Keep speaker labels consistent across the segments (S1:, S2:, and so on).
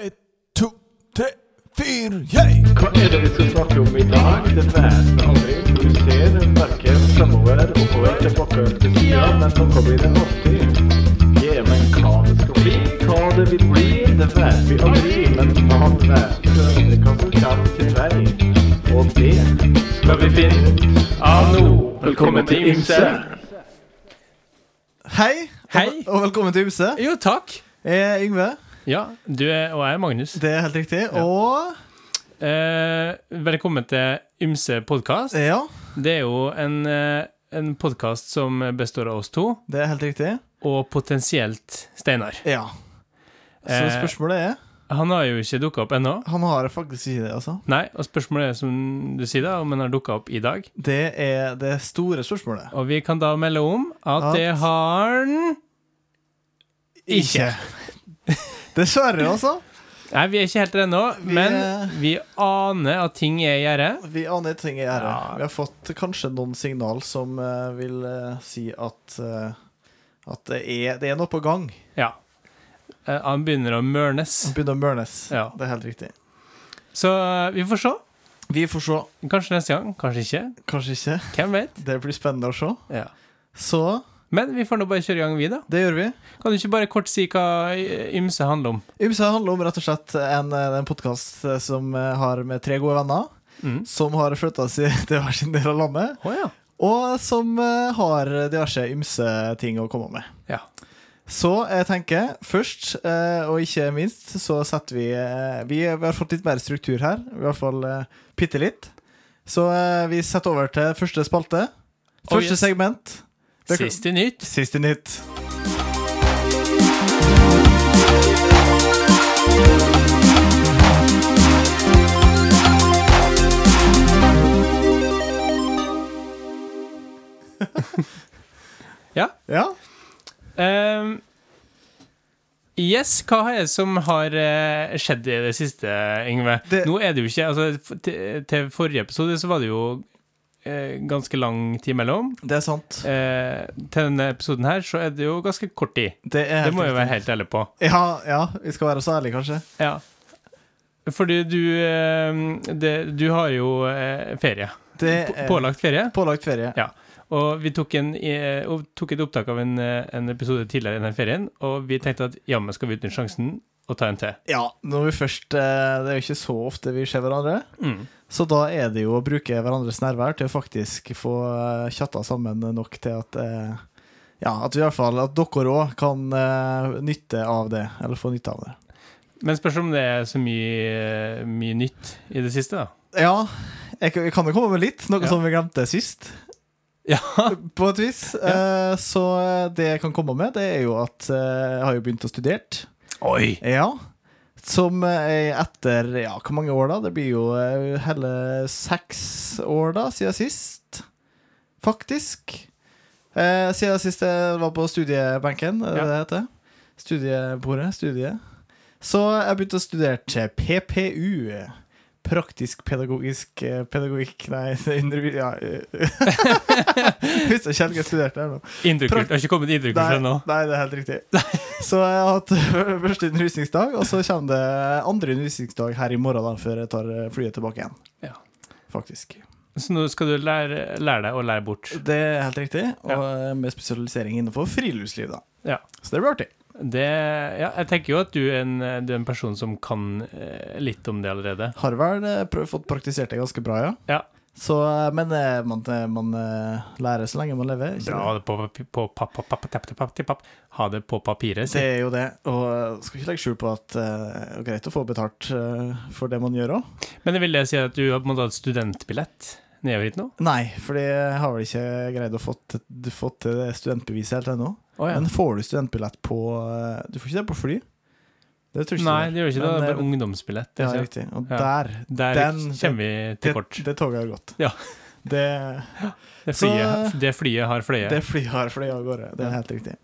S1: Ett, to, tre, fire, yeah!
S2: Hva er det vi skal snakke om i dag? Det vet vi aldri. Du ser verken fremover, oppover, tilbake, til sida, men noe blir det alltid. Ja, men hva det skal bli, hva det vil bli, det vet vi aldri. Men man vet aldri hva som kommer til vei. Og det skal vi finne ut av nå. Velkommen til Imse.
S3: Hei,
S4: Hei.
S3: Og, og velkommen til Use.
S4: Jo, takk.
S3: Jeg er Eh, Yngve,
S4: Ja, du er, og jeg er Magnus.
S3: det er helt riktig. Og
S4: Eh, velkommen til Ymse podkast.
S3: Eh, ja,
S4: Det er jo en, eh, en podkast som består av oss to,
S3: det er helt riktig.
S4: og potensielt Steinar.
S3: Ja. Så
S4: Eh.
S3: spørsmålet er
S4: Han har jo ikke dukka opp ennå.
S3: Han har faktisk ikke det, altså.
S4: Nei, og spørsmålet er som du sier, da, om han har dukka opp i dag.
S3: Det er det store spørsmålet.
S4: Og vi kan da melde om at,
S3: At-
S4: det har han ikke.
S3: Dessverre, altså.
S4: Nei, vi er ikke helt der ennå,
S3: Vi
S4: men
S3: er-
S4: vi aner at ting er i gjære.
S3: Vi aner ting jeg gjør.
S4: Ja.
S3: Vi har fått kanskje noen signal som eh, vil eh, si at eh, at det er, det er noe på gang.
S4: Ja. Eh, han begynner å mørnes.
S3: Begynner å mørnes.
S4: Ja.
S3: Det er helt riktig.
S4: Så eh, vi får se.
S3: Vi får se.
S4: Kanskje neste gang, kanskje ikke.
S3: Kanskje ikke.
S4: Hvem vet?
S3: Det blir spennende å se. Så
S4: Men vi får nå bare kjøre i gang, vi, da.
S3: det gjør vi.
S4: Kan du ikke bare kort si hva eh, ymse handler om?
S3: Ymse handler om rett og slett en, eh, en podkast som eh, har med tre gode venner.
S4: Mm.
S3: Som har flytta seg til hver sin del av landet.
S4: Å ja.
S3: Og som eh, har diverse ymse ting å komme med.
S4: Ja.
S3: Så jeg tenker først, eh, og ikke minst, så setter vi eh, Vi, vi har fått litt mer struktur her. I hvert fall eh, bitte litt. Så eh, vi setter over til første spalte.
S4: Oh,
S3: Første
S4: yes.
S3: segment. Det-
S4: Siste nytt.
S3: Siste nytt.
S4: Ja.
S3: Ja.
S4: Ehm, yes, hva er det som har eh, skjedd i det siste, Yngve?
S3: Det-
S4: Nå er det jo ikke Altså, f- til, til forrige episode så var det jo eh, ganske lang tid mellom.
S3: Det er sant.
S4: Eh, til denne episoden her så er det jo ganske kort tid.
S3: Det, er
S4: Det
S3: helt
S4: må jeg
S3: riktig.
S4: være helt ærlig på.
S3: Ja, ja, vi skal være så ærlige, kanskje.
S4: Ja. Fordi du eh, det, Du har jo eh, ferie.
S3: Det
S4: På-
S3: er
S4: Pålagt ferie.
S3: pålagt ferie.
S4: Ja. Og vi tok, en, eh, og tok et opptak av en, eh, en episode tidligere i den ferien, og vi tenkte at jammen skal vi utnytte sjansen og ta en til.
S3: Ja, når vi først eh, Det er jo ikke så ofte vi ser hverandre.
S4: Mm.
S3: Så da er det jo å bruke hverandres nærvær til å faktisk få eh, tjatta sammen nok til at eh, Ja, at vi i hvert fall At dere òg kan eh, nytte av det. Eller få nytte av det.
S4: Men spørs om det er så mye, eh, mye nytt i det siste, da.
S3: Ja, jeg, kan- jeg kan jo komme med litt, noe
S4: Ja.
S3: som vi glemte sist.
S4: Ja.
S3: På et vis. Eh, så det jeg kan komme med, det er jo at eh, jeg har jo begynt å studere.
S4: Oi!
S3: Ja. Som eh, etter ja, hvor mange år, da? Det blir jo eh, hele seks år, da, siden sist. Faktisk. Eh, siden sist jeg var på studiebenken, er det
S4: Ja.
S3: det heter? Studiebordet. Studiet. Så jeg begynte å studere til PPU. Praktisk-pedagogisk eh, pedagogikk Nei, undervisning ja. eh. Husker ikke helt hva jeg studerte her nå.
S4: Indrekult. Det har ikke kommet indrekult
S3: Nei,
S4: ennå.
S3: nei, det er helt riktig. Så jeg har hatt første undervisningsdag, og så kommer det andre undervisningsdag her i morgen, da, før jeg tar flyet tilbake igjen.
S4: Ja.
S3: Faktisk.
S4: Så nå skal du lære, lære deg å lære bort.
S3: Det er helt riktig, og eh, med spesialisering innenfor friluftsliv, da.
S4: Ja.
S3: Så det blir artig.
S4: Det, ja, jeg tenker jo at du er en, du er en person som kan eh, litt om det allerede.
S3: Har vel eh, prøv, fått praktisert det ganske bra, ja.
S4: Ja.
S3: Så, eh, men eh, man, eh, man eh, lærer så lenge man lever. ikke
S4: Dra det på, papi- på papp, papp, papp, tapp, tapp, tapp, tapp. Ha det på papiret.
S3: Det
S4: si.
S3: er jo det, og eh, skal ikke legge skjul på at eh, det er greit å få betalt eh, for det man gjør òg.
S4: Men det vil jeg si at du har på en måte hatt studentbillett nedover hit nå?
S3: Nei, for jeg har vel ikke greid å få til- du fått til det studentbeviset helt ennå.
S4: Å ja.
S3: Men får du studentbillett på eh, Du får ikke det på fly? Det tror jeg ikke
S4: Nei,
S3: du
S4: det gjør ikke det.
S3: Men,
S4: Det
S3: eh,
S4: er bare ungdomsbillett.
S3: gjør. Ja,
S4: altså.
S3: riktig. Og
S4: Ja.
S3: der
S4: Der
S3: den-
S4: kommer vi til kort.
S3: Det, det toget har gått.
S4: Ja.
S3: Det,
S4: Det
S3: så-
S4: flyet, det flyet har fløyet.
S3: det flyet har fløyet av gårde. Det
S4: Ja.
S3: er helt riktig.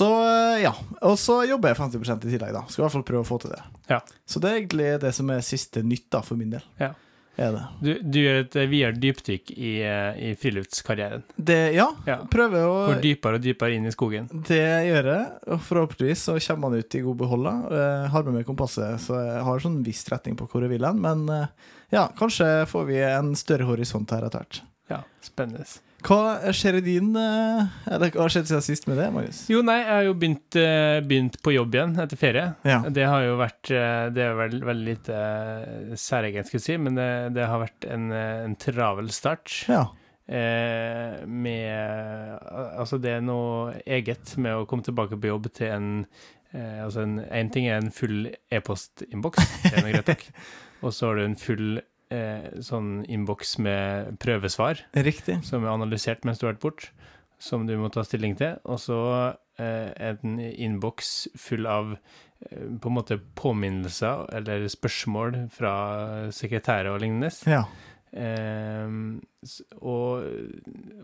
S3: Så eh, ja. Og så jobber jeg 50 i tillegg, da. Skal i hvert fall prøve å få til det.
S4: Ja.
S3: Så det er egentlig det som er siste nytt da, for min del.
S4: Ja.
S3: er det.
S4: Du, du gjør et eh, videre dypdykk i, eh, i friluftskarrieren.
S3: det ja,
S4: Ja.
S3: prøver å
S4: Går dypere og dypere inn i skogen.
S3: Det gjør jeg, og forhåpentligvis så kommer man ut i god behold. da. Jeg har med meg kompasset, så jeg har sånn viss retning på hvor jeg vil hen. Men eh, ja, kanskje får vi en større horisont her etter hvert.
S4: Ja, spennende.
S3: Hva skjer i din eh, Eller hva har skjedd siden sist med det, Magnus?
S4: Jo, nei, jeg har jo begynt, eh, begynt på jobb igjen etter ferie.
S3: Ja.
S4: Det har jo vært eh, Det er vel, veldig lite eh, særegent, skulle jeg si, men det, det har vært en, eh, en travel start.
S3: Ja.
S4: Eh, med Altså, det er noe eget med å komme tilbake på jobb til en eh, Altså, en, en ting er en full e-postinnboks, det er noe greit nok. Og så har du en full eh, sånn innboks med prøvesvar
S3: Riktig.
S4: som er analysert mens du har vært bort, som du må ta stilling til, og så eh, en innboks full av eh, på en måte påminnelser eller spørsmål fra sekretærer og lignende.
S3: Ja.
S4: Ehm, s- og,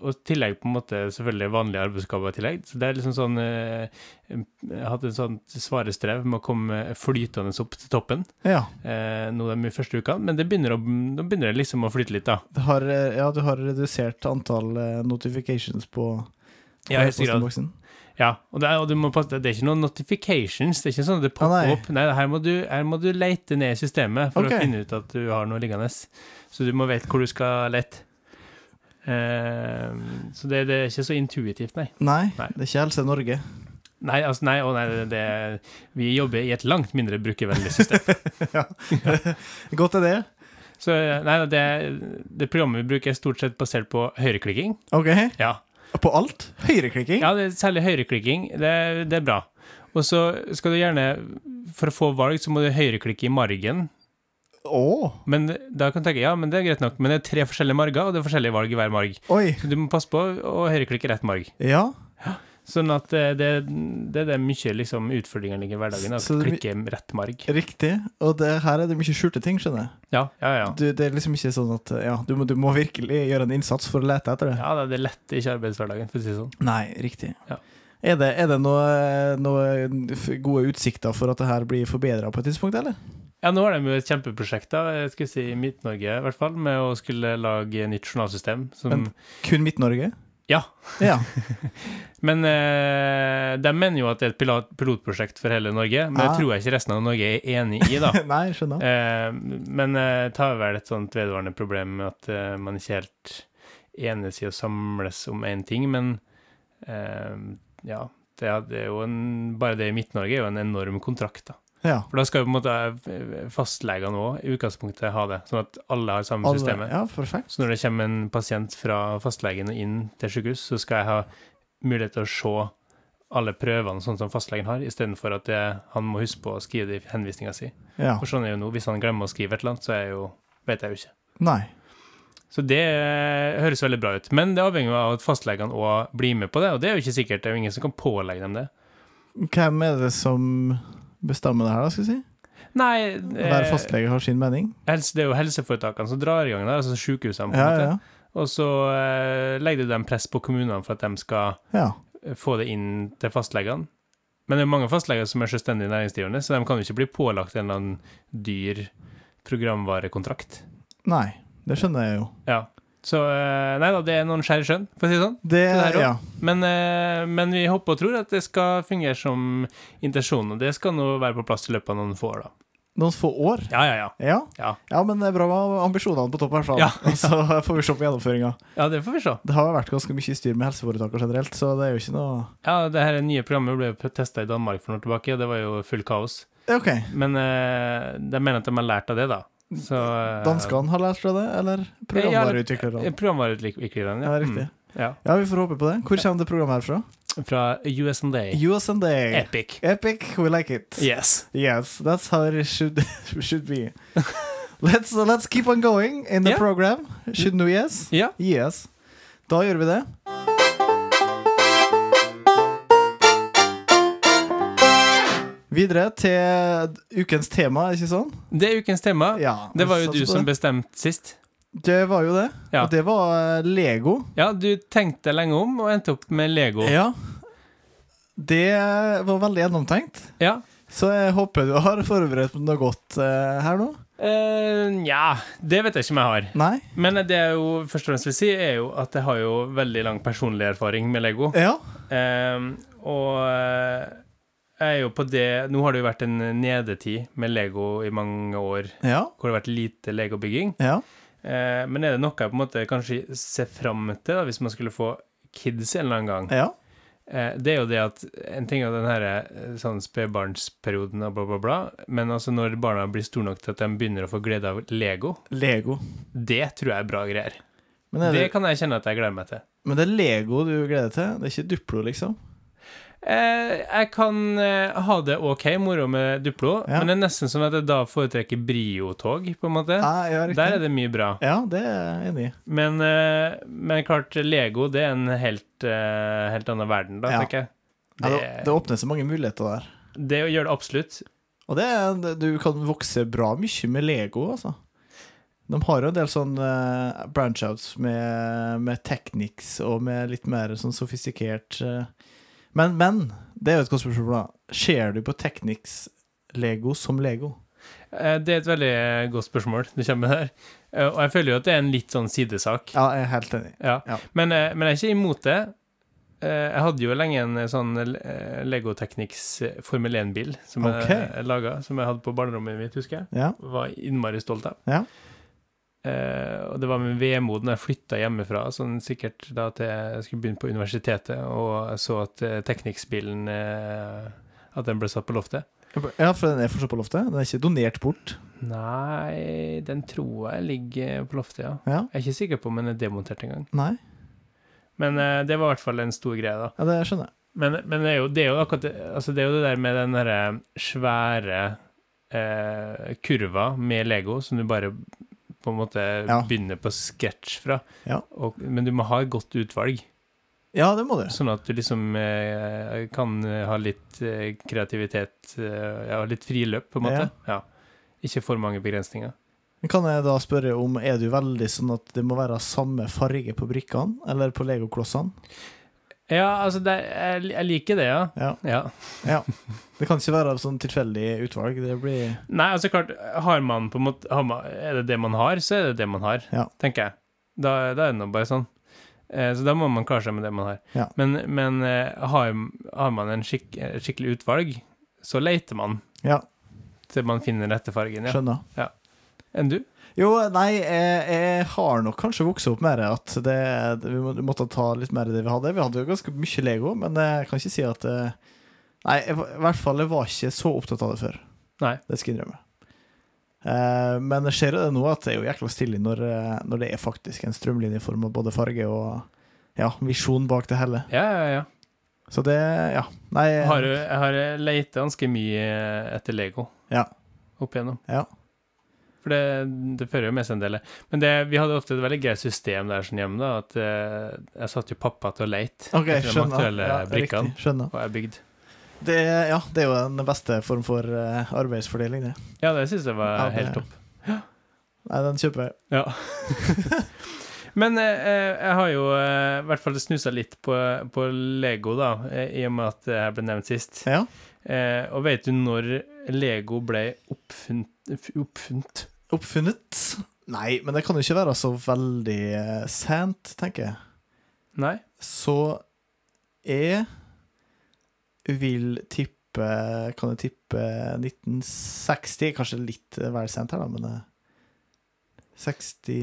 S4: og i tillegg på en måte selvfølgelig vanlige arbeidsoppgaver i tillegg. Så det er liksom sånn eh, Jeg har hatt et sånt svarestrev med å komme flytende opp til toppen
S3: ja.
S4: eh, nå de første ukene, men det begynner å, nå begynner det liksom å flyte litt, da.
S3: Du har, eh, ja, du har redusert antall eh, notifications på, på
S4: Ja, i høyeste grad.
S3: e-postboksen.
S4: Ja, og, det, er- og du må passe, det er ikke noen notifications. Det er ikke sånn at det
S3: Ah,
S4: popper
S3: nei.
S4: opp. Nei, her må, du, her må du leite ned i systemet for
S3: Ok.
S4: å finne ut at du har noe liggende. Så du må vite hvor du skal lete. Eh, så det, det er ikke så intuitivt, nei.
S3: Nei,
S4: Nei.
S3: det er ikke Helse Norge.
S4: Nei, altså, nei, å, nei det, det, vi jobber i et langt mindre brukervennlig system.
S3: Godt er det.
S4: Så eh, nei, det, det programmet vi bruker, er stort sett basert på høyreklikking.
S3: Ok.
S4: Ja,
S3: På alt? Høyreklikking?
S4: ja det, er særlig høyreklikking. Det, det er bra. Og så skal du gjerne, for å få valg, så må du høyreklikke i margen.
S3: Å,
S4: Men da kan du tenke, ja, men det er greit nok, men det er tre forskjellige marger, og det er forskjellige valg i hver marg.
S3: Oi.
S4: Så du må passe på å høyreklikke rett marg.
S3: Ja.
S4: Sånn at eh, det, det er det mye liksom, utfordringer ligger i hverdagen, at
S3: Så
S4: du
S3: det blir-
S4: klikker rett marg.
S3: Riktig. Og det, her er det mye skjulte ting, skjønner jeg.
S4: Ja, ja, ja.
S3: Du, det er liksom ikke sånn at ja, du, må, du må virkelig gjøre en innsats for å lete etter det.
S4: Ja, da, det letter ikke arbeidshverdagen, for å si det sånn.
S3: Nei, riktig.
S4: Ja.
S3: Er det, er det noe, noe f- gode utsikter for at det her blir forbedra på et tidspunkt, eller?
S4: Ja, nå har de jo et kjempeprosjekt da, jeg skulle si i Midt-Norge i hvert fall, med å skulle lage nytt journalsystem. Som,
S3: Men- Kun Midt-Norge?
S4: Ja.
S3: Ja.
S4: men eh, de mener jo at det er et pilot, pilotprosjekt for hele Norge, men
S3: Ah.
S4: det tror jeg ikke resten av Norge er enig i da.
S3: Nei, skjønner.
S4: Eh, men eh, det er vel et sånt vedvarende problem med at eh, man ikke helt enes i å samles om én ting, men eh, ja, det er, det er jo en, bare det i Midt-Norge er jo en enorm kontrakt, da.
S3: Ja.
S4: For da skal jo på en måte eh, fastlegene òg i utgangspunktet ha det, sånn at alle har samme
S3: Alle-
S4: systemet.
S3: Ja, perfekt.
S4: Så når det kommer en pasient fra fastlegen og inn til sykehus, så skal jeg ha mulighet til å se alle prøvene sånn som fastlegen har, istedenfor at det, han må huske på å skrive det i henvisninga si.
S3: Ja.
S4: For sånn er jo nå, hvis han glemmer å skrive et eller annet, så er jeg jo, vet jeg jo ikke.
S3: Nei.
S4: Så det eh, høres veldig bra ut. Men det avhenger jo av at fastlegene òg blir med på det, og det er jo ikke sikkert. Det er jo ingen som kan pålegge dem det.
S3: Hvem er det som bestemmer det her, da, skal vi si?
S4: Nei,
S3: Hver
S4: eh,
S3: fastlege har sin mening?
S4: helse, det er jo helseforetakene som drar i gang der, altså sykehusene, på en
S3: Ja,
S4: måte.
S3: ja.
S4: Og så eh, legger de press på kommunene for at de skal
S3: ja.
S4: eh, få det inn til fastlegene. Men det er jo mange fastleger som er selvstendig næringsdrivende, så de kan jo ikke bli pålagt en eller annen dyr programvarekontrakt.
S3: Nei. Det skjønner jeg jo.
S4: Ja. Så eh, nei da, det er noen skjær i sjøen, for å si det sånn.
S3: Det,
S4: Det der også.
S3: ja.
S4: Men, eh, men vi håper og tror at det skal fungere som intensjon, og det skal nå være på plass i løpet av noen få år, da.
S3: Noen få år?
S4: Ja, ja, ja.
S3: Ja.
S4: Ja.
S3: men det er bra med ambisjonene på topp, i hvert fall.
S4: Ja.
S3: Og så får vi se på gjennomføringa.
S4: Ja, det får vi se.
S3: Det har vært ganske mye styr med helseforetakene generelt, så det er jo ikke noe
S4: Ja, det her nye programmet ble jo testa i Danmark for noen år tilbake, og det var jo full kaos.
S3: Ja, OK.
S4: Men eh, de mener at de har lært av det, da. Så eh,
S3: Danskene har lært fra det, eller programvareutviklerne?
S4: eh, Programvareutviklerne,
S3: Ja, det er riktig.
S4: Mm. Ja.
S3: Ja, vi får håpe på det. Hvor kommer det programmet her fra?
S4: Fra USND.
S3: US and Day.
S4: Epic.
S3: Epic, we like it.
S4: Yes.
S3: Yes, that's how it should, should be. Let's, uh, let's keep on going in the
S4: Ja.
S3: program. Shouldn't we, yes?
S4: Ja.
S3: Yes. Da gjør vi det. Videre til ukens tema, ikke sånn?
S4: Det er ukens tema.
S3: Ja.
S4: Det var jo
S3: satser
S4: du
S3: på
S4: som
S3: det.
S4: bestemte sist.
S3: Det var jo det.
S4: Ja.
S3: Og det var eh, Lego.
S4: Ja, du tenkte deg lenge om og endte opp med Lego.
S3: Ja. Det var veldig gjennomtenkt.
S4: Ja.
S3: Så jeg håper du har forberedt noe godt eh, her nå.
S4: Eh, Nja, det vet jeg ikke om jeg har.
S3: Nei?
S4: Men det jeg jo først og fremst vil si, er jo at jeg har jo veldig lang personlig erfaring med Lego.
S3: Ja.
S4: Ehm, og eh, jeg er jo på det Nå har det jo vært en nedetid med Lego i mange år,
S3: Ja.
S4: hvor det har vært lite Lego-bygging.
S3: Ja.
S4: Eh, men er det noe jeg på en måte kanskje ser fram til da, hvis man skulle få kids en eller annen gang?
S3: ja.
S4: Eh, det er jo det at en ting er den her eh, sånn spedbarnsperioden og bla, bla, bla, men altså når barna blir store nok til at de begynner å få glede av Lego,
S3: Lego.
S4: det tror jeg er bra greier.
S3: Men er det,
S4: Det kan jeg kjenne at jeg gleder meg til.
S3: men det er Lego du gleder deg til? Det er ikke Duplo, liksom?
S4: Eh, jeg kan eh, ha det ok moro med Duplo,
S3: Ja.
S4: men det er nesten sånn at jeg da foretrekker Brio-tog, på en måte.
S3: Nei, ja, riktig.
S4: Der er det mye bra.
S3: Ja, det er jeg enig i.
S4: Men, eh, men klart, Lego det er en helt, eh, helt annen verden, da,
S3: Ja.
S4: tenker jeg.
S3: Ja, det, det
S4: Det,
S3: åpner så mange muligheter der.
S4: det gjør det absolutt.
S3: Og det er, det- du kan vokse bra mye med Lego, altså. De har jo en del sånn eh, branch-outs med, med technics og med litt mer sånn sofistikert eh. men, men det er jo et godt spørsmål, da. Ser du på technics-Lego som Lego?
S4: Eh, det er et veldig eh, godt spørsmål du kommer med her. Eh, og jeg føler jo at det er en litt sånn sidesak.
S3: Ja, jeg er helt enig.
S4: Ja.
S3: Ja.
S4: Men, eh, men jeg er ikke imot det. Eh, Jeg hadde jo lenge en eh, sånn eh, Lego Technics eh, Formel 1-bil som
S3: Ok.
S4: jeg laga, som jeg hadde på barnerommet mitt, husker jeg.
S3: Ja.
S4: Var innmari stolt av.
S3: Ja.
S4: Eh, og det var med vemod når jeg flytta hjemmefra, sånn sikkert da til jeg skulle begynne på universitetet, og jeg så at eh, Technics-bilen eh, At den ble satt på loftet.
S3: ja, for den er fortsatt på loftet. Den er ikke donert bort.
S4: Nei, den tror jeg ligger på loftet, ja.
S3: Ja,
S4: Jeg er ikke sikker på om den er demontert engang.
S3: Nei?
S4: Men eh, det var i hvert fall en stor greie, da.
S3: Ja, det skjønner jeg.
S4: Men, men det, er jo, det er jo akkurat det, altså det er jo det der med den derre svære eh, kurva med Lego som du bare på en måte
S3: Ja.
S4: begynner på scratch fra.
S3: Ja.
S4: Og, men du må ha et godt utvalg,
S3: Ja, det må du.
S4: sånn at du liksom eh, kan eh, ha litt eh, kreativitet, eh, ja, litt friløp, på en måte. Ja. Ikke for mange begrensninger.
S3: Men Kan jeg da spørre om, er du veldig sånn at det må være samme farge på brikkene, eller på legoklossene?
S4: Ja, altså, det, er- jeg, jeg liker det, ja.
S3: Ja.
S4: ja.
S3: Det kan ikke være av sånn tilfeldig utvalg. Det blir
S4: Nei, altså klart, har man på en måte har man, Er det det man har, så er det det man har,
S3: Ja.
S4: tenker jeg. Da, da er det nå bare sånn. Eh, så da må man klare seg med det man har.
S3: Ja.
S4: Men, men eh, har, har man en skikk, eh, skikkelig utvalg, så leter man
S3: Ja,
S4: til man finner den rette fargen. Ja.
S3: skjønner.
S4: Enn du?
S3: Jo, nei, jeg, jeg har nok kanskje vokst opp mer at det, det, vi må- måtte ta litt mer av det vi hadde. Vi hadde jo ganske mye Lego, men jeg kan ikke si at eh, Nei, jeg, var- i hvert fall jeg var ikke så opptatt av det før.
S4: Nei.
S3: Det skal jeg innrømme. Eh, men jeg ser jo det nå at det er jo jækla stille når, eh, når det er faktisk en strømlinjeform av både farge og ja, visjon bak det hele.
S4: Ja, ja, ja.
S3: Så det, ja. Nei,
S4: Jeg har, jeg har leita ganske mye etter Lego
S3: Ja.
S4: opp igjennom.
S3: Ja.
S4: For det, det fører jo med seg en del. Men det, vi hadde ofte et veldig greit system der sånn hjemme, da, at eh, jeg satte jo pappa til å leite
S3: Ok,
S4: etter de
S3: skjønner.
S4: aktuelle
S3: Ja,
S4: brikkene.
S3: riktig, skjønner.
S4: Og jeg bygd.
S3: Det, ja, det er jo den beste form for eh, arbeidsfordeling, det.
S4: Ja, det syns jeg var
S3: Ja, det-
S4: helt topp.
S3: Nei, den kjøper jeg.
S4: Ja. Men eh, eh, jeg har jo eh, i hvert fall snusa litt på, på Lego, da, eh, i og med at det her ble nevnt sist.
S3: Ja.
S4: Eh, og vet du når Lego ble oppfunnet f- Oppfunnet?
S3: Oppfunnet? Nei, men det kan jo ikke være så veldig eh, sent, tenker jeg.
S4: Nei?
S3: Så jeg vil tippe Kan jeg tippe 1960? Kanskje litt eh, vel sent her, da, men eh, 60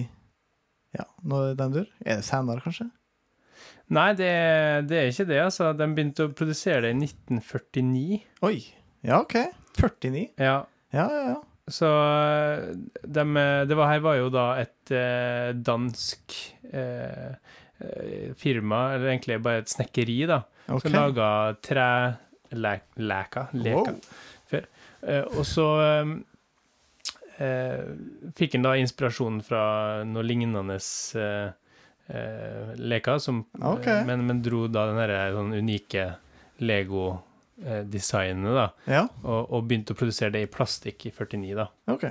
S3: Ja, når den dur? Er det senere, kanskje?
S4: Nei, det, det er ikke det, altså. De begynte å produsere det i 1949.
S3: Oi. Ja, OK. 49.
S4: Ja,
S3: Ja, ja, ja.
S4: Så eh, dem, eh, det var, her var jo da et eh, dansk eh, eh, firma, eller egentlig bare et snekkeri, da,
S3: Ok.
S4: som laga trelæka, leker,
S3: Wow.
S4: før. Eh, og så eh, eh, fikk en da inspirasjon fra noe lignende eh, eh, leker, som,
S3: Ok.
S4: eh, men, men dro da den derre sånn unike Lego-designet, da,
S3: Ja,
S4: og, og begynte å produsere det i plastikk i 49, da.
S3: OK.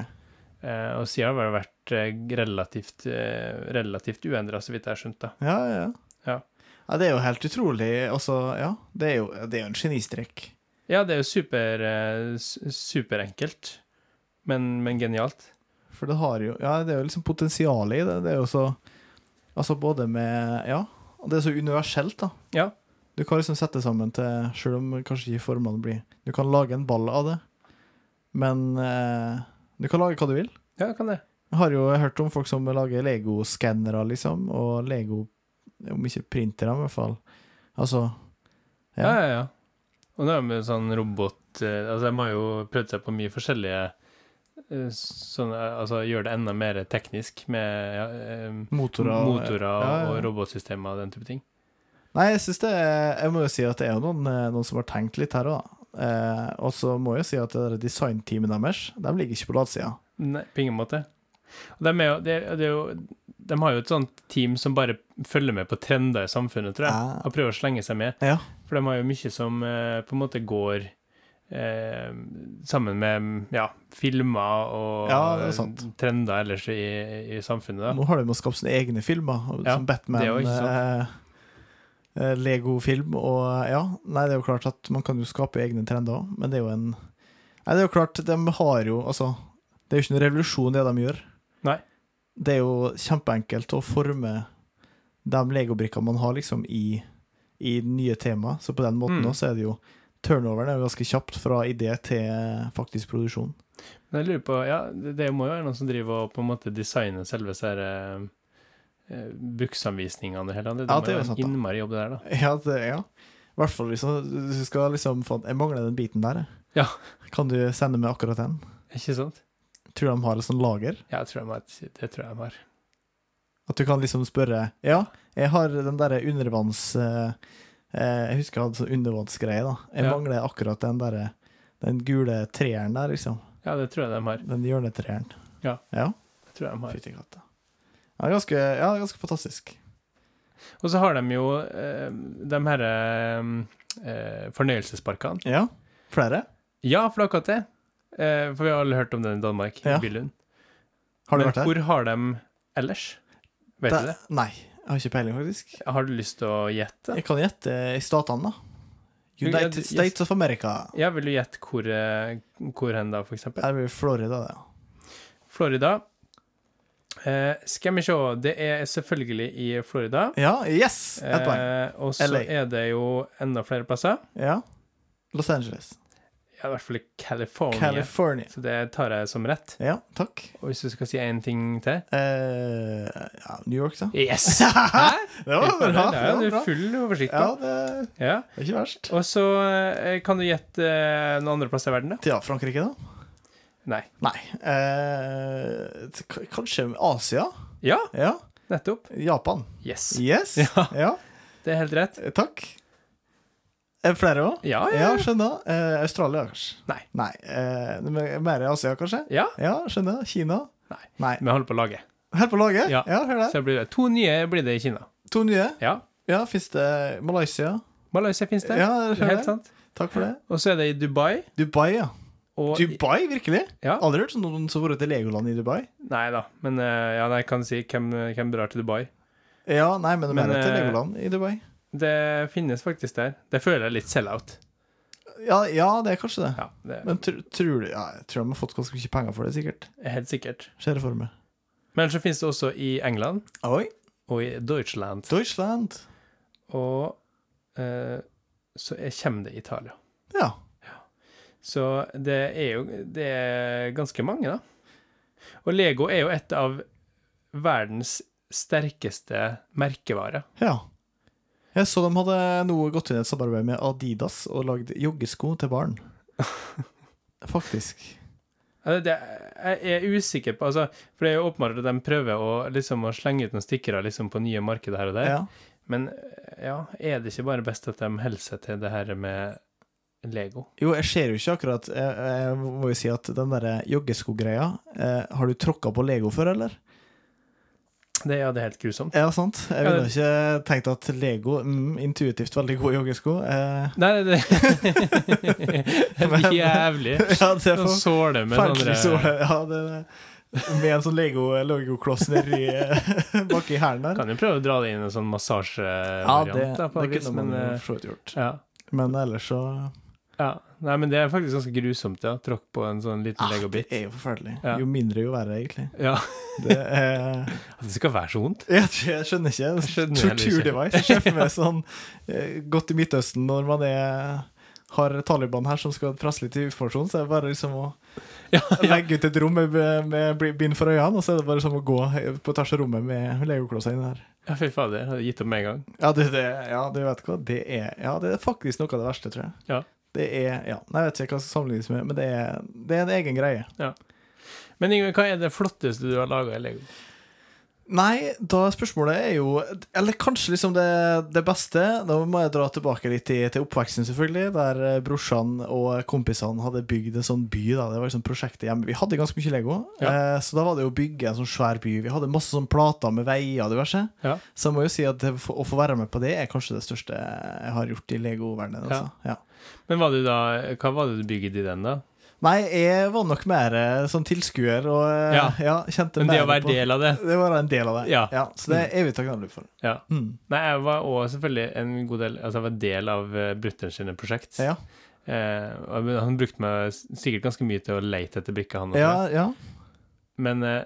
S4: Eh, og siden har det vært eh, relativt, eh, relativt uendra, så vidt jeg har skjønt. da.
S3: Ja, ja, ja.
S4: Ja.
S3: Ja, det er jo helt utrolig. Altså, ja, det er jo, det er jo en genistrek.
S4: Ja, det er jo super, eh, su- superenkelt, men, men genialt.
S3: For det har jo Ja, det er jo liksom potensialet i det. Det er jo så Altså både med Ja. Og det er så universelt, da.
S4: Ja.
S3: Du kan liksom sette sammen til Selv om kanskje ikke formene blir Du kan lage en ball av det, men eh, du kan lage hva du vil.
S4: Ja, kan det.
S3: Jeg har jo hørt om folk som lager Lego-skannere, liksom, og Lego Om ikke printere, men i hvert fall. Altså
S4: Ja, ja, ja. Og nå er det jo sånn robot eh, Altså, de har jo prøvd seg på mye forskjellige eh, sånn, eh, Altså gjøre det enda mer teknisk med ja, eh,
S3: motorer
S4: motorer,
S3: og- Ja, ja.
S4: og robotsystemer og den type ting.
S3: Nei, jeg synes det er- Jeg må jo si at det er jo noen, eh, noen som har tenkt litt her òg, da. Eh, og så må jeg jo si at det der designteamet deres, de ligger ikke på latsida.
S4: Nei, på ingen måte. Og de, er jo, det er- det er jo, de har jo et sånt team som bare følger med på trender i samfunnet, tror jeg,
S3: Ja.
S4: og prøver å slenge seg med.
S3: Ah. Ja.
S4: For de har jo mye som eh, på en måte går eh, sammen med ja, filmer og
S3: Ja, det er sant.
S4: trender ellers i, i samfunnet. Da.
S3: Nå har de jo skapt sine egne filmer,
S4: Ja,
S3: som Batman,
S4: det er jo ikke
S3: eh, eh, Lego-film og Ja, nei, det er jo klart at man kan jo skape egne trender òg, men det er jo en Nei, det er jo klart, de har jo Altså, det er jo ikke noen revolusjon, det de gjør.
S4: Nei.
S3: Det er jo kjempeenkelt å forme de legobrikkene man har, liksom, i, i nye tema. Så på den måten
S4: Mm.
S3: også er det jo Turnoveren er jo ganske kjapt fra idé til faktisk produksjon.
S4: Men jeg lurer på, ja, det det må jo være noen som driver og på en måte designer selve disse her, eh, eh, bruksanvisningene og hele det. Det
S3: Ja,
S4: må
S3: det er
S4: jo
S3: jo
S4: være
S3: sant,
S4: en
S3: da.
S4: innmari jobb det der, da.
S3: Ja, det, ja. I hvert fall hvis du skal liksom få Jeg mangler den biten der, jeg.
S4: Ja.
S3: Kan du sende meg akkurat den?
S4: Ikke sant?
S3: Tror de har et sånt lager?
S4: Ja, jeg tror de har, det tror jeg de har.
S3: At du kan liksom spørre Ja, jeg har den derre undervanns... eh, eh, jeg husker jeg hadde sånn undervannsgreie, da. Jeg
S4: Ja.
S3: mangler akkurat den derre Den gule treeren der, liksom.
S4: Ja, det tror jeg de har.
S3: Den hjørnetreeren.
S4: Ja.
S3: ja.
S4: Det tror jeg de har.
S3: Fytti katta. Ja, ganske, ja, ganske fantastisk.
S4: Og så har de jo eh, de her eh, eh, fornøyelsesparkene.
S3: Ja. Flere?
S4: Ja, for det er akkurat det. Eh, for vi har alle hørt om den i Danmark,
S3: Ja.
S4: i Billund.
S3: Har du
S4: Men
S3: vært der?
S4: Hvor har de ellers? Vet du det?
S3: Nei, jeg har ikke peiling, faktisk.
S4: Har du lyst til å gjette?
S3: Jeg kan gjette eh, i statene, da. United
S4: Yes.
S3: States of America.
S4: Ja, vil du gjette hvor, eh, hvor hen da, for eksempel?
S3: Her blir Florida, det.
S4: Florida. Eh, skal vi se, det er selvfølgelig i Florida.
S3: Ja, yes! Ett poeng.
S4: Eh, og så
S3: LA.
S4: er det jo enda flere plasser.
S3: Ja. Los Angeles.
S4: Ja, i hvert fall i California.
S3: California.
S4: Så det tar jeg som rett.
S3: Ja, takk.
S4: Og hvis du skal si én ting til
S3: Eh, ja, New York, da.
S4: Yes!
S3: Det var bra.
S4: Ja,
S3: Det
S4: du
S3: var
S4: er
S3: bra.
S4: full oversikt
S3: Ja,
S4: på.
S3: det
S4: Ja.
S3: det er ikke verst.
S4: Og så eh, kan du gjette eh, noen andre plasser i verden, da?
S3: Ja, Frankrike, da?
S4: Nei.
S3: Nei. Eh, t- k- kanskje Asia?
S4: Ja,
S3: Ja.
S4: nettopp.
S3: Japan.
S4: Yes.
S3: Yes.
S4: Ja.
S3: Ja,
S4: Det er helt rett.
S3: eh, takk. Er det flere òg?
S4: Ja, ja.
S3: Ja, skjønner. Eh, Australia, kanskje?
S4: Nei.
S3: Nei. Eh, mer- mer i Asia, kanskje?
S4: ja.
S3: Ja, skjønner. Kina?
S4: Nei.
S3: Nei.
S4: Vi holder på laget.
S3: Helt på laget?
S4: Ja.
S3: Ja, hør der.
S4: Så det blir det. To nye blir det i Kina.
S3: To nye.
S4: Ja.
S3: Ja, fins det Malaysia?
S4: Malaysia finnes det.
S3: Ja, jeg ser
S4: helt
S3: det.
S4: sant.
S3: Takk for det.
S4: Og så er det i Dubai.
S3: Dubai, ja.
S4: Og
S3: Dubai, virkelig?
S4: Ja.
S3: Aldri hørt om noen som har vært i Legoland i Dubai.
S4: Nei da, men eh, ja, nei, jeg kan si hvem, hvem drar til Dubai.
S3: Ja, nei, men de
S4: Men,
S3: er til
S4: eh,
S3: Legoland i Dubai.
S4: Det finnes faktisk der. Det føler jeg er litt sell-out.
S3: Ja, ja, det er kanskje det.
S4: Ja, det
S3: Men tr tror du Ja, jeg tror de har fått ganske mye penger for det, sikkert.
S4: er helt sikkert.
S3: Ser det for meg.
S4: Men så finnes det også i England
S3: Oi.
S4: og i Deutschland.
S3: Deutschland.
S4: Og eh, så er- kommer det Italia.
S3: Ja.
S4: Så det er jo det er ganske mange, da. Og Lego er jo et av verdens sterkeste merkevarer.
S3: ja. Jeg så de hadde nå gått inn i et samarbeid med Adidas og lagd joggesko til barn. Faktisk.
S4: Ja, Altså, Det, det, jeg er usikker på altså, For det er jo åpenbart at de prøver å, liksom, å slenge ut noen stikkere liksom, på nye markeder her og der.
S3: Ja.
S4: Men eh, ja, er det ikke bare best at de holder seg til det her med Lego?
S3: Jo, jeg ser jo ikke akkurat Jeg, jeg må jo si at den derre joggeskogreia eh, Har du tråkka på Lego før, eller?
S4: Det, ja, det er helt grusomt.
S3: Ja, sant. Jeg
S4: Ja,
S3: ville ikke tenkt at Lego mm, Intuitivt veldig gode joggesko. Eh,
S4: Nei, det, det er
S3: Men-
S4: jævlig.
S3: ja, det er
S4: Noen
S3: for
S4: såle med sånn
S3: fælt så
S4: andre
S3: Ja, det med en sånn Lego Lego-kloss nedi eh, baki hælen der.
S4: Kan jo prøve å dra det inn i en sånn
S3: Ja, det,
S4: massasjevariant, da, på
S3: det
S4: en vis,
S3: kunne
S4: men
S3: man jo
S4: eh,
S3: for så vidt gjort.
S4: ja.
S3: Men ellers så
S4: Ja, Ja. Nei, men det er faktisk ganske grusomt, ja. Tråkk på en sånn liten
S3: Ah, det
S4: legobit.
S3: er jo forferdelig.
S4: Ja.
S3: Jo mindre, jo verre, egentlig.
S4: Ja,
S3: Det er
S4: At det skal være så vondt.
S3: Ja, Jeg skjønner ikke.
S4: Jeg skjønner liksom. heller ikke.
S3: Tortur device. Jeg ser for meg sånn eh, godt i Midtøsten når man er har Taliban her som skal presse litt i informasjon, så er det bare liksom å
S4: Ja,
S3: legge ut et rom med, med bli- bind for øynene, og så er det bare som å gå på tvers av rommet med legoklosser inni her.
S4: Ja, fy fader. Jeg hadde gitt opp med en gang.
S3: Ja, det, det, ja, du vet hva, det er Ja, det er faktisk noe av det verste, tror jeg.
S4: Ja.
S3: Det er Ja, nei, jeg vet ikke hva jeg skal sammenlignes med, men det er, det er en egen greie.
S4: Men Ingrid, hva er det flotteste du har laga i Lego?
S3: Nei, da spørsmålet er jo Eller kanskje liksom det, det beste. Da må jeg dra tilbake litt til, til oppveksten, selvfølgelig. Der eh, brorsan og kompisene hadde bygd en sånn by. da Det var liksom prosjektet hjemme. Vi hadde ganske mye Lego,
S4: Ja.
S3: eh, så da var det jo å bygge en sånn svær by. Vi hadde masse sånn plater med veier og diverse.
S4: Ja.
S3: Så jeg må jo si at det, å få være med på det er kanskje det største jeg har gjort i Lego-verdenen.
S4: Ja.
S3: Altså. Ja.
S4: Men var du da, hva var det du bygde i den, da?
S3: Nei, jeg var nok mer eh, sånn tilskuer og eh,
S4: Ja.
S3: ja, kjente
S4: Men det å
S3: mer
S4: være
S3: på
S4: del av det
S3: det var en del av det.
S4: Ja.
S3: så det er jeg evig takknemlig for.
S4: Ja.
S3: Mm.
S4: Nei, jeg var òg selvfølgelig en god del Altså, jeg var del av eh, brutter'n sine prosjekt.
S3: Ja.
S4: Eh, og han brukte meg s- sikkert ganske mye til å leite etter brikker, han også.
S3: Ja, ja.
S4: Men eh,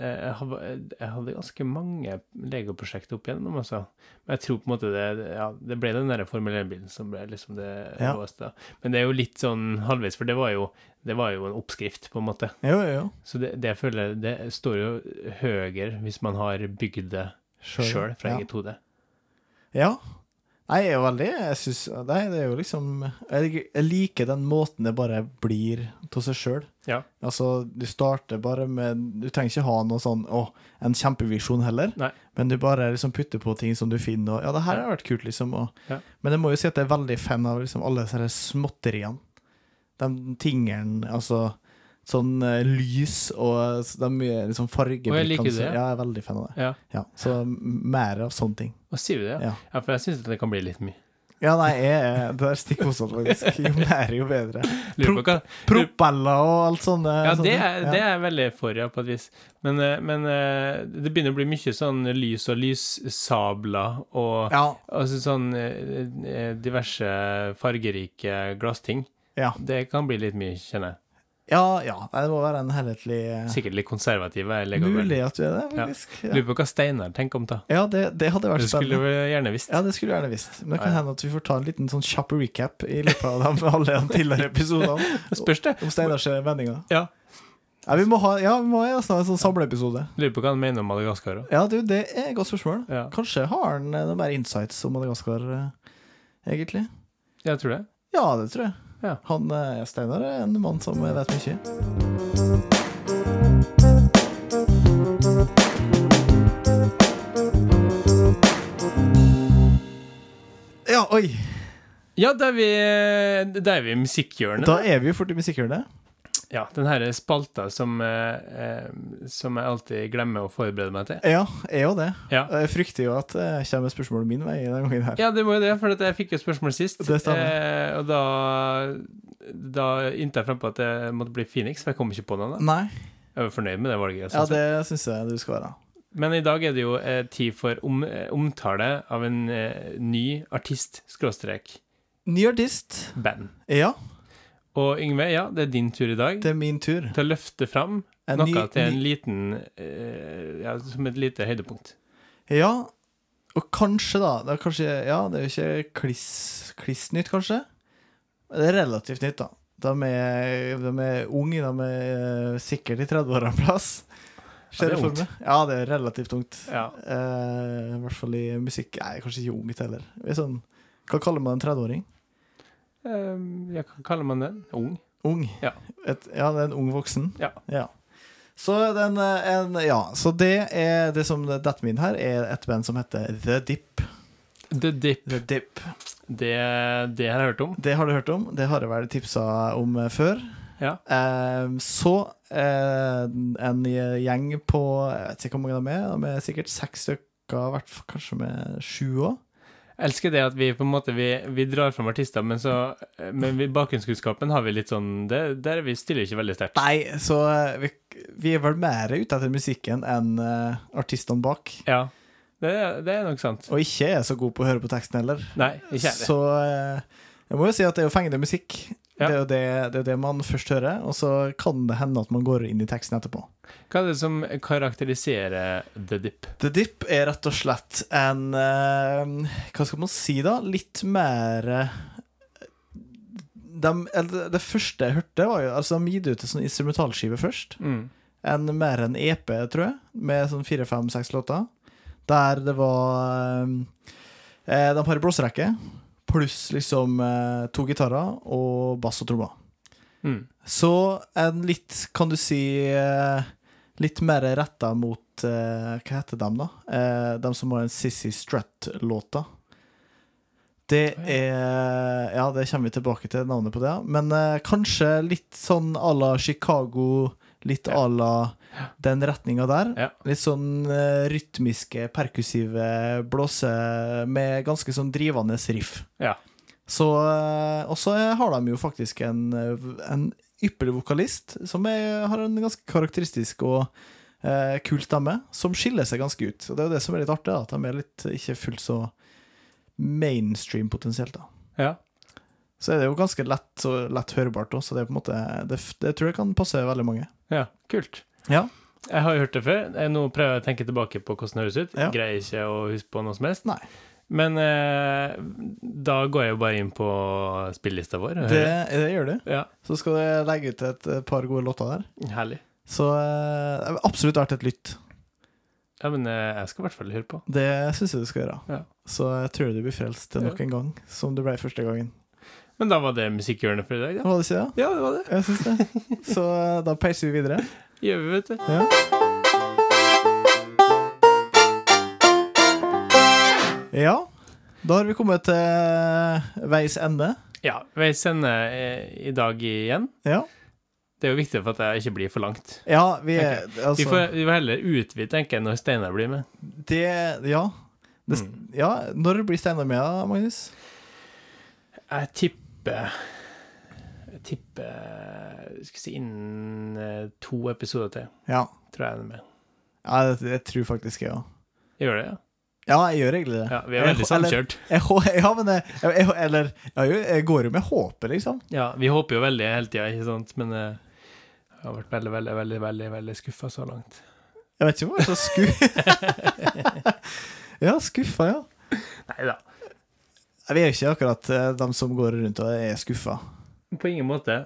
S4: eh, jeg hadde, jeg hadde ganske mange legoprosjekter opp igjennom, altså. Men jeg tror på en måte det Ja, det ble den derre Formel 1-bilen som ble liksom det
S3: Ja.
S4: råeste. Men det er jo litt sånn halvveis, for det var jo, det var jo en oppskrift, på en måte.
S3: Jo, jo, jo.
S4: Så det, det jeg føler Det står jo høyere hvis man har bygd det sjøl
S3: ja.
S4: fra eget hode.
S3: Ja. Nei, jeg er jo veldig Jeg syns Nei, det er jo liksom Jeg lik- jeg liker den måten det bare blir av seg sjøl.
S4: Ja.
S3: Altså, du starter bare med Du trenger ikke ha noe sånn Å, en kjempevisjon heller.
S4: Nei.
S3: Men du bare liksom putter på ting som du finner, og Ja, det her har vært kult, liksom. Og,
S4: Ja.
S3: Men jeg må jo si at jeg er veldig fan av liksom alle disse her småtteriene. De tingene, altså Sånn eh, lys og s- de mye liksom fargeblikkene.
S4: Å, jeg liker det.
S3: så- Ja, jeg er veldig fan av det.
S4: Ja.
S3: Ja, så m- mer av sånne ting.
S4: Hva sier du det?
S3: Ja.
S4: Ja, for jeg syns det kan bli litt mye.
S3: Ja, nei, jeg er Det er stikk motsatt, faktisk. Jo mer, jo bedre.
S4: Lurer på hva
S3: Propeller og alt sånne.
S4: Ja,
S3: sånne
S4: det
S3: ting.
S4: er,
S3: Ja.
S4: det er jeg veldig for, ja, på et vis. Men, eh, men eh, det begynner å bli mye sånn lys og lyssabler og
S3: ja,
S4: altså sånn eh, eh, diverse fargerike glassting.
S3: ja,
S4: Det kan bli litt mye, kjenner jeg.
S3: ja, ja. Nei, det må være en helhetlig eh,
S4: Sikkert litt konservative. jeg legger over.
S3: Mulig at du er det,
S4: Ja.
S3: faktisk. Ja,
S4: Lurer på hva Steinar tenker om det.
S3: ja det, det hadde vært
S4: Det skulle
S3: spennende.
S4: vi gjerne visst.
S3: Ja, det skulle jeg gjerne visst. Men det
S4: Ja,
S3: kan
S4: ja.
S3: hende at vi får ta en liten sånn kjapp recap i løpet av dem, alle de tidligere episodene
S4: Spørs det.
S3: om Steinars meninger.
S4: Ja.
S3: Ja, vi må ha ja, vi må ha nesten ha en sånn samleepisode.
S4: Lurer på hva han mener om Madagaskar òg.
S3: Ja, du, det er et godt spørsmål.
S4: Ja.
S3: Kanskje har han eh, noen mer insights om Madagaskar, eh, egentlig.
S4: Jeg tror det.
S3: Ja, det tror jeg.
S4: Ja.
S3: Han eh, Steinar er en mann som vet mye. Ja, oi!
S4: Ja, da er vi, eh, da er vi i musikkhjørnet.
S3: Da er vi jo fort i musikkhjørnet.
S4: Ja, den her spalta som, eh, eh, som jeg alltid glemmer å forberede meg til.
S3: Ja, er jo det.
S4: Ja.
S3: Jeg frykter jo at det kommer spørsmålet min vei denne gangen her.
S4: Ja, det må jo det, for at jeg fikk jo spørsmål sist.
S3: Det stemmer.
S4: Eh, og da, da inntil jeg frempå at jeg måtte bli Phoenix, for jeg kom ikke på noe. da.
S3: Nei,
S4: Jeg var fornøyd med det valget.
S3: ja,
S4: jeg synes.
S3: det syns jeg du skal være.
S4: Men i dag er det jo eh, tid for om, eh, omtale av en eh, ny artist, skråstrek,
S3: Ny artist.
S4: band.
S3: Ja,
S4: Og Yngve, ja, det er din tur i dag
S3: det er min tur.
S4: til å løfte fram
S3: En
S4: noe
S3: ny-
S4: til en
S3: ny-
S4: liten eh, Ja, som et lite høydepunkt.
S3: Ja, og kanskje da det er kanskje, Ja, det er jo ikke kliss, kliss nytt, kanskje. Men det er relativt nytt, da. De er, de er unge, de er sikkert i 30-åra en plass.
S4: Ja, det er
S3: Ser jeg for
S4: ungt.
S3: meg. Ja, det er relativt ungt.
S4: Ja.
S3: Eh, I hvert fall i musikk. Nei, kanskje ikke ungt heller. Det er Sånn, hva kaller man en 30-åring?
S4: Eh, ja, hva kaller man den? Ung?
S3: Ung.
S4: Ja.
S3: Et, ja, det er en ung voksen.
S4: Ja.
S3: Så, den, eh, en, ja, så det er det som detter min her, er et band som heter The Dip.
S4: The Dip.
S3: The Dip.
S4: Det, det har jeg hørt om.
S3: Det har du hørt om. Det har jeg vel tipsa om eh, før.
S4: Ja.
S3: Eh, så eh, en gjeng på Jeg vet ikke hvor mange de er. De er sikkert seks stykker, hvert fall kanskje med sju òg.
S4: Jeg elsker det at vi på en måte vi, vi drar fram artister, men, så, men vi, bakgrunnskunnskapen har vi litt sånn det, Der vi stiller ikke veldig sterkt.
S3: Nei, så eh, vi, vi er vel mer ute etter musikken enn eh, artistene bak.
S4: Ja, det, er- det er nok sant.
S3: Og ikke er så god på å høre på teksten heller.
S4: Nei, ikke jeg.
S3: Så eh, Jeg må jo si at det er jo fengende musikk.
S4: Ja.
S3: Det er jo det, det, er det man først hører, og så kan det hende at man går inn i teksten etterpå.
S4: Hva er det som karakteriserer The Dip?
S3: The Dip er rett og slett en eh, Hva skal man si, da? Litt mer eh, dem- eller Det første jeg hørte, var jo Altså, de gitt ut en sånn instrumentalskive først.
S4: Mm.
S3: En mer enn EP, tror jeg, med sånn fire, fem, seks låter. Der det var eh, De har en blåserekke, pluss liksom eh, to gitarer og bass og trommer.
S4: Mm.
S3: Så en litt, kan du si eh, Litt mer retta mot eh, Hva heter dem, da? Eh, dem som har en Sissy Strutt-låta. Det
S4: Å, ja.
S3: er Ja, det kommer vi tilbake til navnet på det. ja. Men eh, kanskje litt sånn à la Chicago, litt à la den retninga der.
S4: Ja.
S3: Litt sånn eh, rytmiske, perkussive blåser med ganske sånn drivende riff.
S4: Ja.
S3: Så, eh, og så har de jo faktisk en, eh, en ypperlig vokalist som er, har en ganske karakteristisk og eh, kul stemme, som skiller seg ganske ut. Og det er jo det som er litt artig, da, at de er litt eh, ikke fullt så mainstream potensielt. da.
S4: ja.
S3: Så er det jo ganske lett, og lett hørbart òg, så det er på en måte, det, f- det tror jeg kan passe veldig mange.
S4: Ja, kult.
S3: Ja.
S4: Jeg har jo hørt det før. Jeg nå prøver jeg å tenke tilbake på hvordan det høres ut.
S3: Ja.
S4: Greier ikke å huske på noe som helst.
S3: Nei.
S4: Men eh, da går jeg jo bare inn på spillelista vår. og
S3: Det,
S4: hører.
S3: det gjør du.
S4: Ja,
S3: Så skal du legge ut et eh, par gode låter der.
S4: herlig.
S3: Så eh, det er absolutt verdt et lytt.
S4: Ja, men eh, jeg skal i hvert fall høre på.
S3: Det syns jeg du skal gjøre.
S4: Ja.
S3: Så jeg tror du blir frelst nok en gang, som du ble første gangen.
S4: Men da var det musikkhjørnet for i dag, da.
S3: Hva du sier
S4: Ja, det var det.
S3: Jeg syns det. Så eh, da peiser vi videre.
S4: Gjør vi, vet du.
S3: Ja. ja. Da har vi kommet til veis ende.
S4: Ja, vi sender eh, i dag igjen.
S3: Ja,
S4: Det er jo viktig for at jeg ikke blir for langt.
S3: ja vi er
S4: Vi
S3: altså,
S4: får, vi får heller utvide, tenker jeg, når Steinar blir med. Mm.
S3: Det Ja. Det, ja. Når blir Steinar med, da, Magnus?
S4: Jeg tipper Jeg tipper Skal vi si innen eh, to episoder til,
S3: Ja.
S4: tror jeg han er med.
S3: ja det, det tror faktisk jeg òg.
S4: Gjør det, ja?
S3: Ja, jeg gjør egentlig det.
S4: ja vi er veldig
S3: Eller-
S4: samkjørt.
S3: Jeg, hå- ja, men jeg, jeg, jeg, eller, jeg, jeg går jo med håpet, liksom.
S4: Ja, vi håper jo veldig hele tida, ikke sant? Men eh, jeg har vært veldig, veldig, veldig veldig, veldig skuffa så langt.
S3: Jeg vet ikke om jeg er så skuffa. ja, skuffa, ja.
S4: Nei da.
S3: Nei, Vi er ikke akkurat eh, dem som går rundt og er skuffa.
S4: På ingen måte.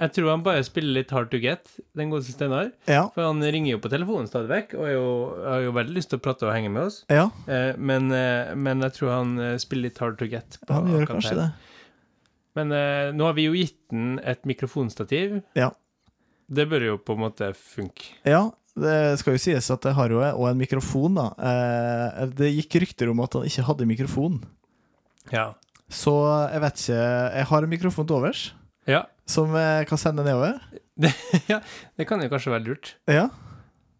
S4: Jeg tror han bare spiller litt hard to get, den godeste Steinar.
S3: Ja,
S4: For han ringer jo på telefonen stadig vekk, og er jo, har jo veldig lyst til å prate og henge med oss.
S3: ja,
S4: Eh, men, eh, men jeg tror han eh, spiller litt hard to get. på
S3: han gjør
S4: akkurat
S3: kanskje
S4: her.
S3: det.
S4: Men eh, nå har vi jo gitt den et mikrofonstativ.
S3: Ja.
S4: Det bør jo på en måte funke.
S3: Ja, det skal jo sies at jeg har jo også en mikrofon, da. Eh, Det gikk rykter om at han ikke hadde mikrofon,
S4: Ja.
S3: så jeg vet ikke Jeg har en mikrofon til overs
S4: Ja,
S3: som jeg kan sende nedover.
S4: det kan jo kanskje være lurt.
S3: Ja.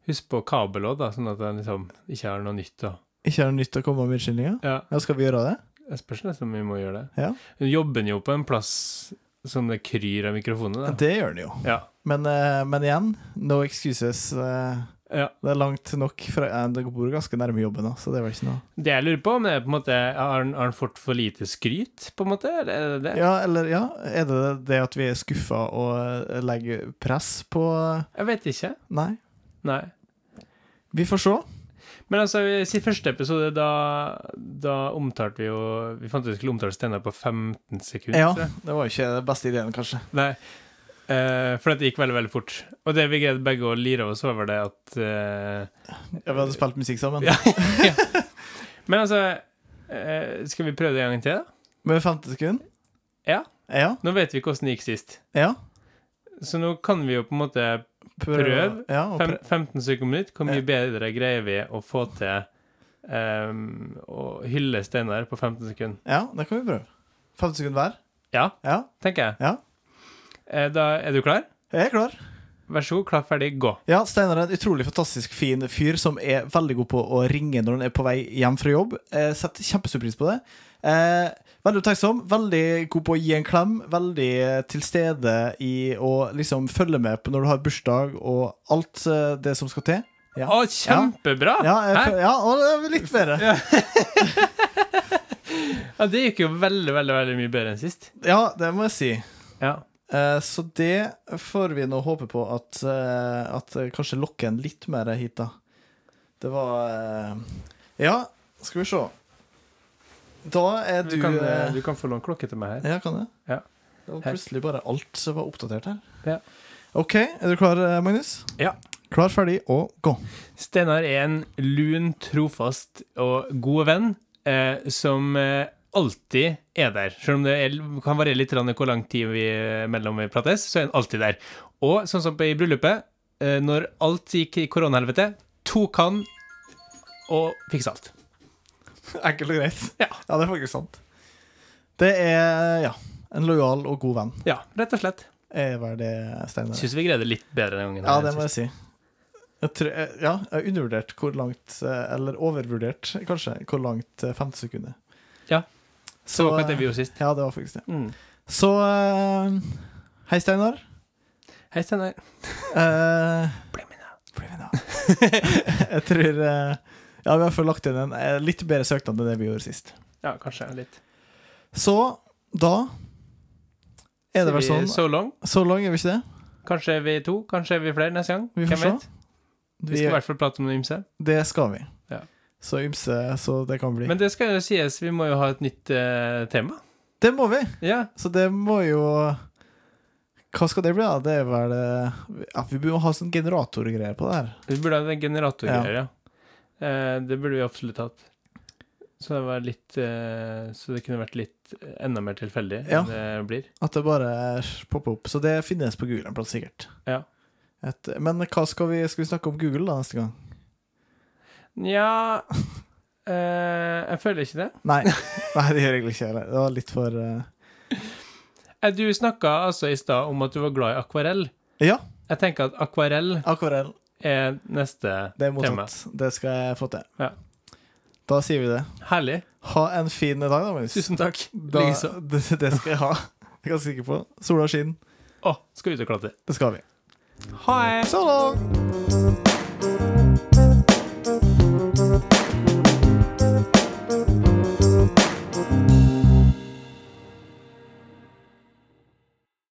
S4: Husk på kabel òg, da, sånn at en liksom ikke har noe nytt. Da.
S3: Ikke er det nytt å komme med unnskyldninger?
S4: Ja,
S3: Ja, skal vi gjøre det?
S4: Jeg spørs nesten om vi må gjøre det.
S3: Ja.
S4: Hun jobber jo på en plass som det kryr av mikrofoner. Da.
S3: Det gjør den jo.
S4: Ja.
S3: Men, eh, men igjen, no excuses. eh,
S4: ja.
S3: Det er langt nok fra eh, Du bor ganske nærme jobben, da, så det er vel ikke noe
S4: Det jeg lurer på, om det er på en måte Har han har han fått for lite skryt, på en måte? Eller er det det?
S3: Ja, eller ja, er det det at vi er skuffa og eh, legger press på eh,
S4: Jeg vet ikke.
S3: Nei.
S4: Nei.
S3: Vi får se.
S4: Men altså, i sin første episode, da, da omtalte vi jo Vi fant ut vi skulle omtale Steinar på 15 sekunder.
S3: Ja,
S4: tror jeg.
S3: det var jo ikke den beste ideen, kanskje.
S4: Nei. Eh, for det gikk veldig veldig fort. Og det vi greide begge å lire oss over, det at eh,
S3: Ja, vi hadde spilt musikk sammen.
S4: Ja. Men altså eh, Skal vi prøve det en gang til? da?
S3: Med 50 sekunder?
S4: Ja.
S3: Ja.
S4: Nå vet vi hvordan det gikk sist.
S3: ja.
S4: Så nå kan vi jo på en måte Prøv.
S3: Ja, og
S4: fem,
S3: prøv.
S4: 15 sekunder minutt. Hvor mye
S3: Ja.
S4: bedre greier vi å få til eh, å hylle Steinar på 15 sekunder?
S3: ja, det kan vi prøve. 50 sekunder hver?
S4: Ja,
S3: Ja.
S4: tenker jeg.
S3: Ja.
S4: Eh, da er du klar?
S3: Jeg er klar.
S4: Vær så god, klar, ferdig, gå.
S3: Ja, Steinar er en utrolig fantastisk fin fyr som er veldig god på å ringe når han er på vei hjem fra jobb. Eh, setter kjempestor pris på det. Eh, veldig opptenksom, veldig god på å gi en klem. Veldig eh, til stede i å liksom følge med på når du har bursdag og alt eh, det som skal til. Ja.
S4: Å, kjempebra!
S3: Ja, jeg,
S4: Hæ?
S3: fø- ja og det er litt bedre.
S4: Ja, det gikk jo veldig, veldig veldig mye bedre enn sist.
S3: Ja, det må jeg si.
S4: Ja.
S3: Eh, Så det får vi nå håpe på at, eh, at eh, kanskje lokker en litt mer hit, da. Det var eh, Ja, skal vi se. Da er
S4: Du,
S3: du,
S4: kan, eh,
S3: eh,
S4: du kan få låne klokke til meg her.
S3: Ja, kan det?
S4: Ja.
S3: Det var
S4: Her.
S3: plutselig bare alt som var oppdatert her.
S4: Ja.
S3: OK, er du klar, eh, Magnus?
S4: Ja.
S3: Klar, ferdig og gå.
S4: Steinar er en lun, trofast og god venn eh, som eh, alltid er der. Selv om det er, kan variere litt grann hvor lang tid vi eh, mellom vi prates, så er han alltid der. Og sånn som på- i bryllupet, eh, når alt gikk i koronahelvete, tok han og fiksa alt.
S3: Enkelt og greit.
S4: Ja.
S3: ja, det er faktisk sant. Det er ja, en lojal og god venn,
S4: Ja, rett og slett.
S3: er vel det Steinar er.
S4: Syns vi greide det litt bedre den gangen.
S3: Ja,
S4: her
S3: det
S4: enn
S3: må
S4: sist.
S3: jeg si. Jeg tror, eh, ja, jeg har undervurdert hvor langt eh, Eller overvurdert, kanskje, hvor langt eh, 50 sekunder.
S4: Ja.
S3: Så, eh,
S4: Så akkurat det vi gjorde sist.
S3: Ja, det var faktisk det.
S4: Mm.
S3: Så eh, Hei, Steinar.
S4: Hei, Steinar.
S3: Eh, jeg tror eh, Ja, vi har fått lagt inn en eh, litt bedre søknad enn det vi gjorde sist.
S4: Ja, kanskje litt.
S3: Så da er det vel
S4: Sier vi
S3: sånn
S4: So long.
S3: Så lang er vi ikke det?
S4: Kanskje er vi to, kanskje er vi flere neste gang.
S3: Vi får
S4: Hvem
S3: se.
S4: vet? Vi
S3: Vi,
S4: skal i hvert fall prate om det ymse.
S3: det skal vi.
S4: Ja.
S3: Så ymse så det kan bli.
S4: Men det skal jo sies, vi må jo ha et nytt eh, tema.
S3: det må vi!
S4: Ja,
S3: Så det må jo Hva skal det bli, da? Det er vel eh, ja, Vi burde ha sånn generatorgreier på det her.
S4: vi burde ha en generatorgreier, ja. Eh, det burde vi absolutt hatt. Så det, var litt, eh, så det kunne vært litt eh, enda mer tilfeldig
S3: Ja.
S4: enn det blir.
S3: At det bare popper opp. Så det finnes på Google en plass, sikkert.
S4: Ja.
S3: Et, men hva skal vi, skal vi snakke om Google da neste gang?
S4: Nja eh, Jeg føler ikke det.
S3: Nei, nei det gjør egentlig ikke jeg. Det var litt for eh,
S4: Eh, Du snakka altså i stad om at du var glad i akvarell.
S3: Ja,
S4: Jeg tenker at akvarell
S3: akvarell.
S4: er neste
S3: Det er
S4: tema.
S3: mottatt. Det skal jeg få til.
S4: Ja.
S3: Da sier vi det.
S4: Herlig.
S3: Ha en fin dag, da, Magnus.
S4: Tusen takk.
S3: Da,
S4: Likeså.
S3: det, det skal jeg ha. Jeg er ganske sikker på. Sola skinner.
S4: Å, skal ut og klatre.
S3: Det skal vi.
S4: Ha det!
S3: Så long!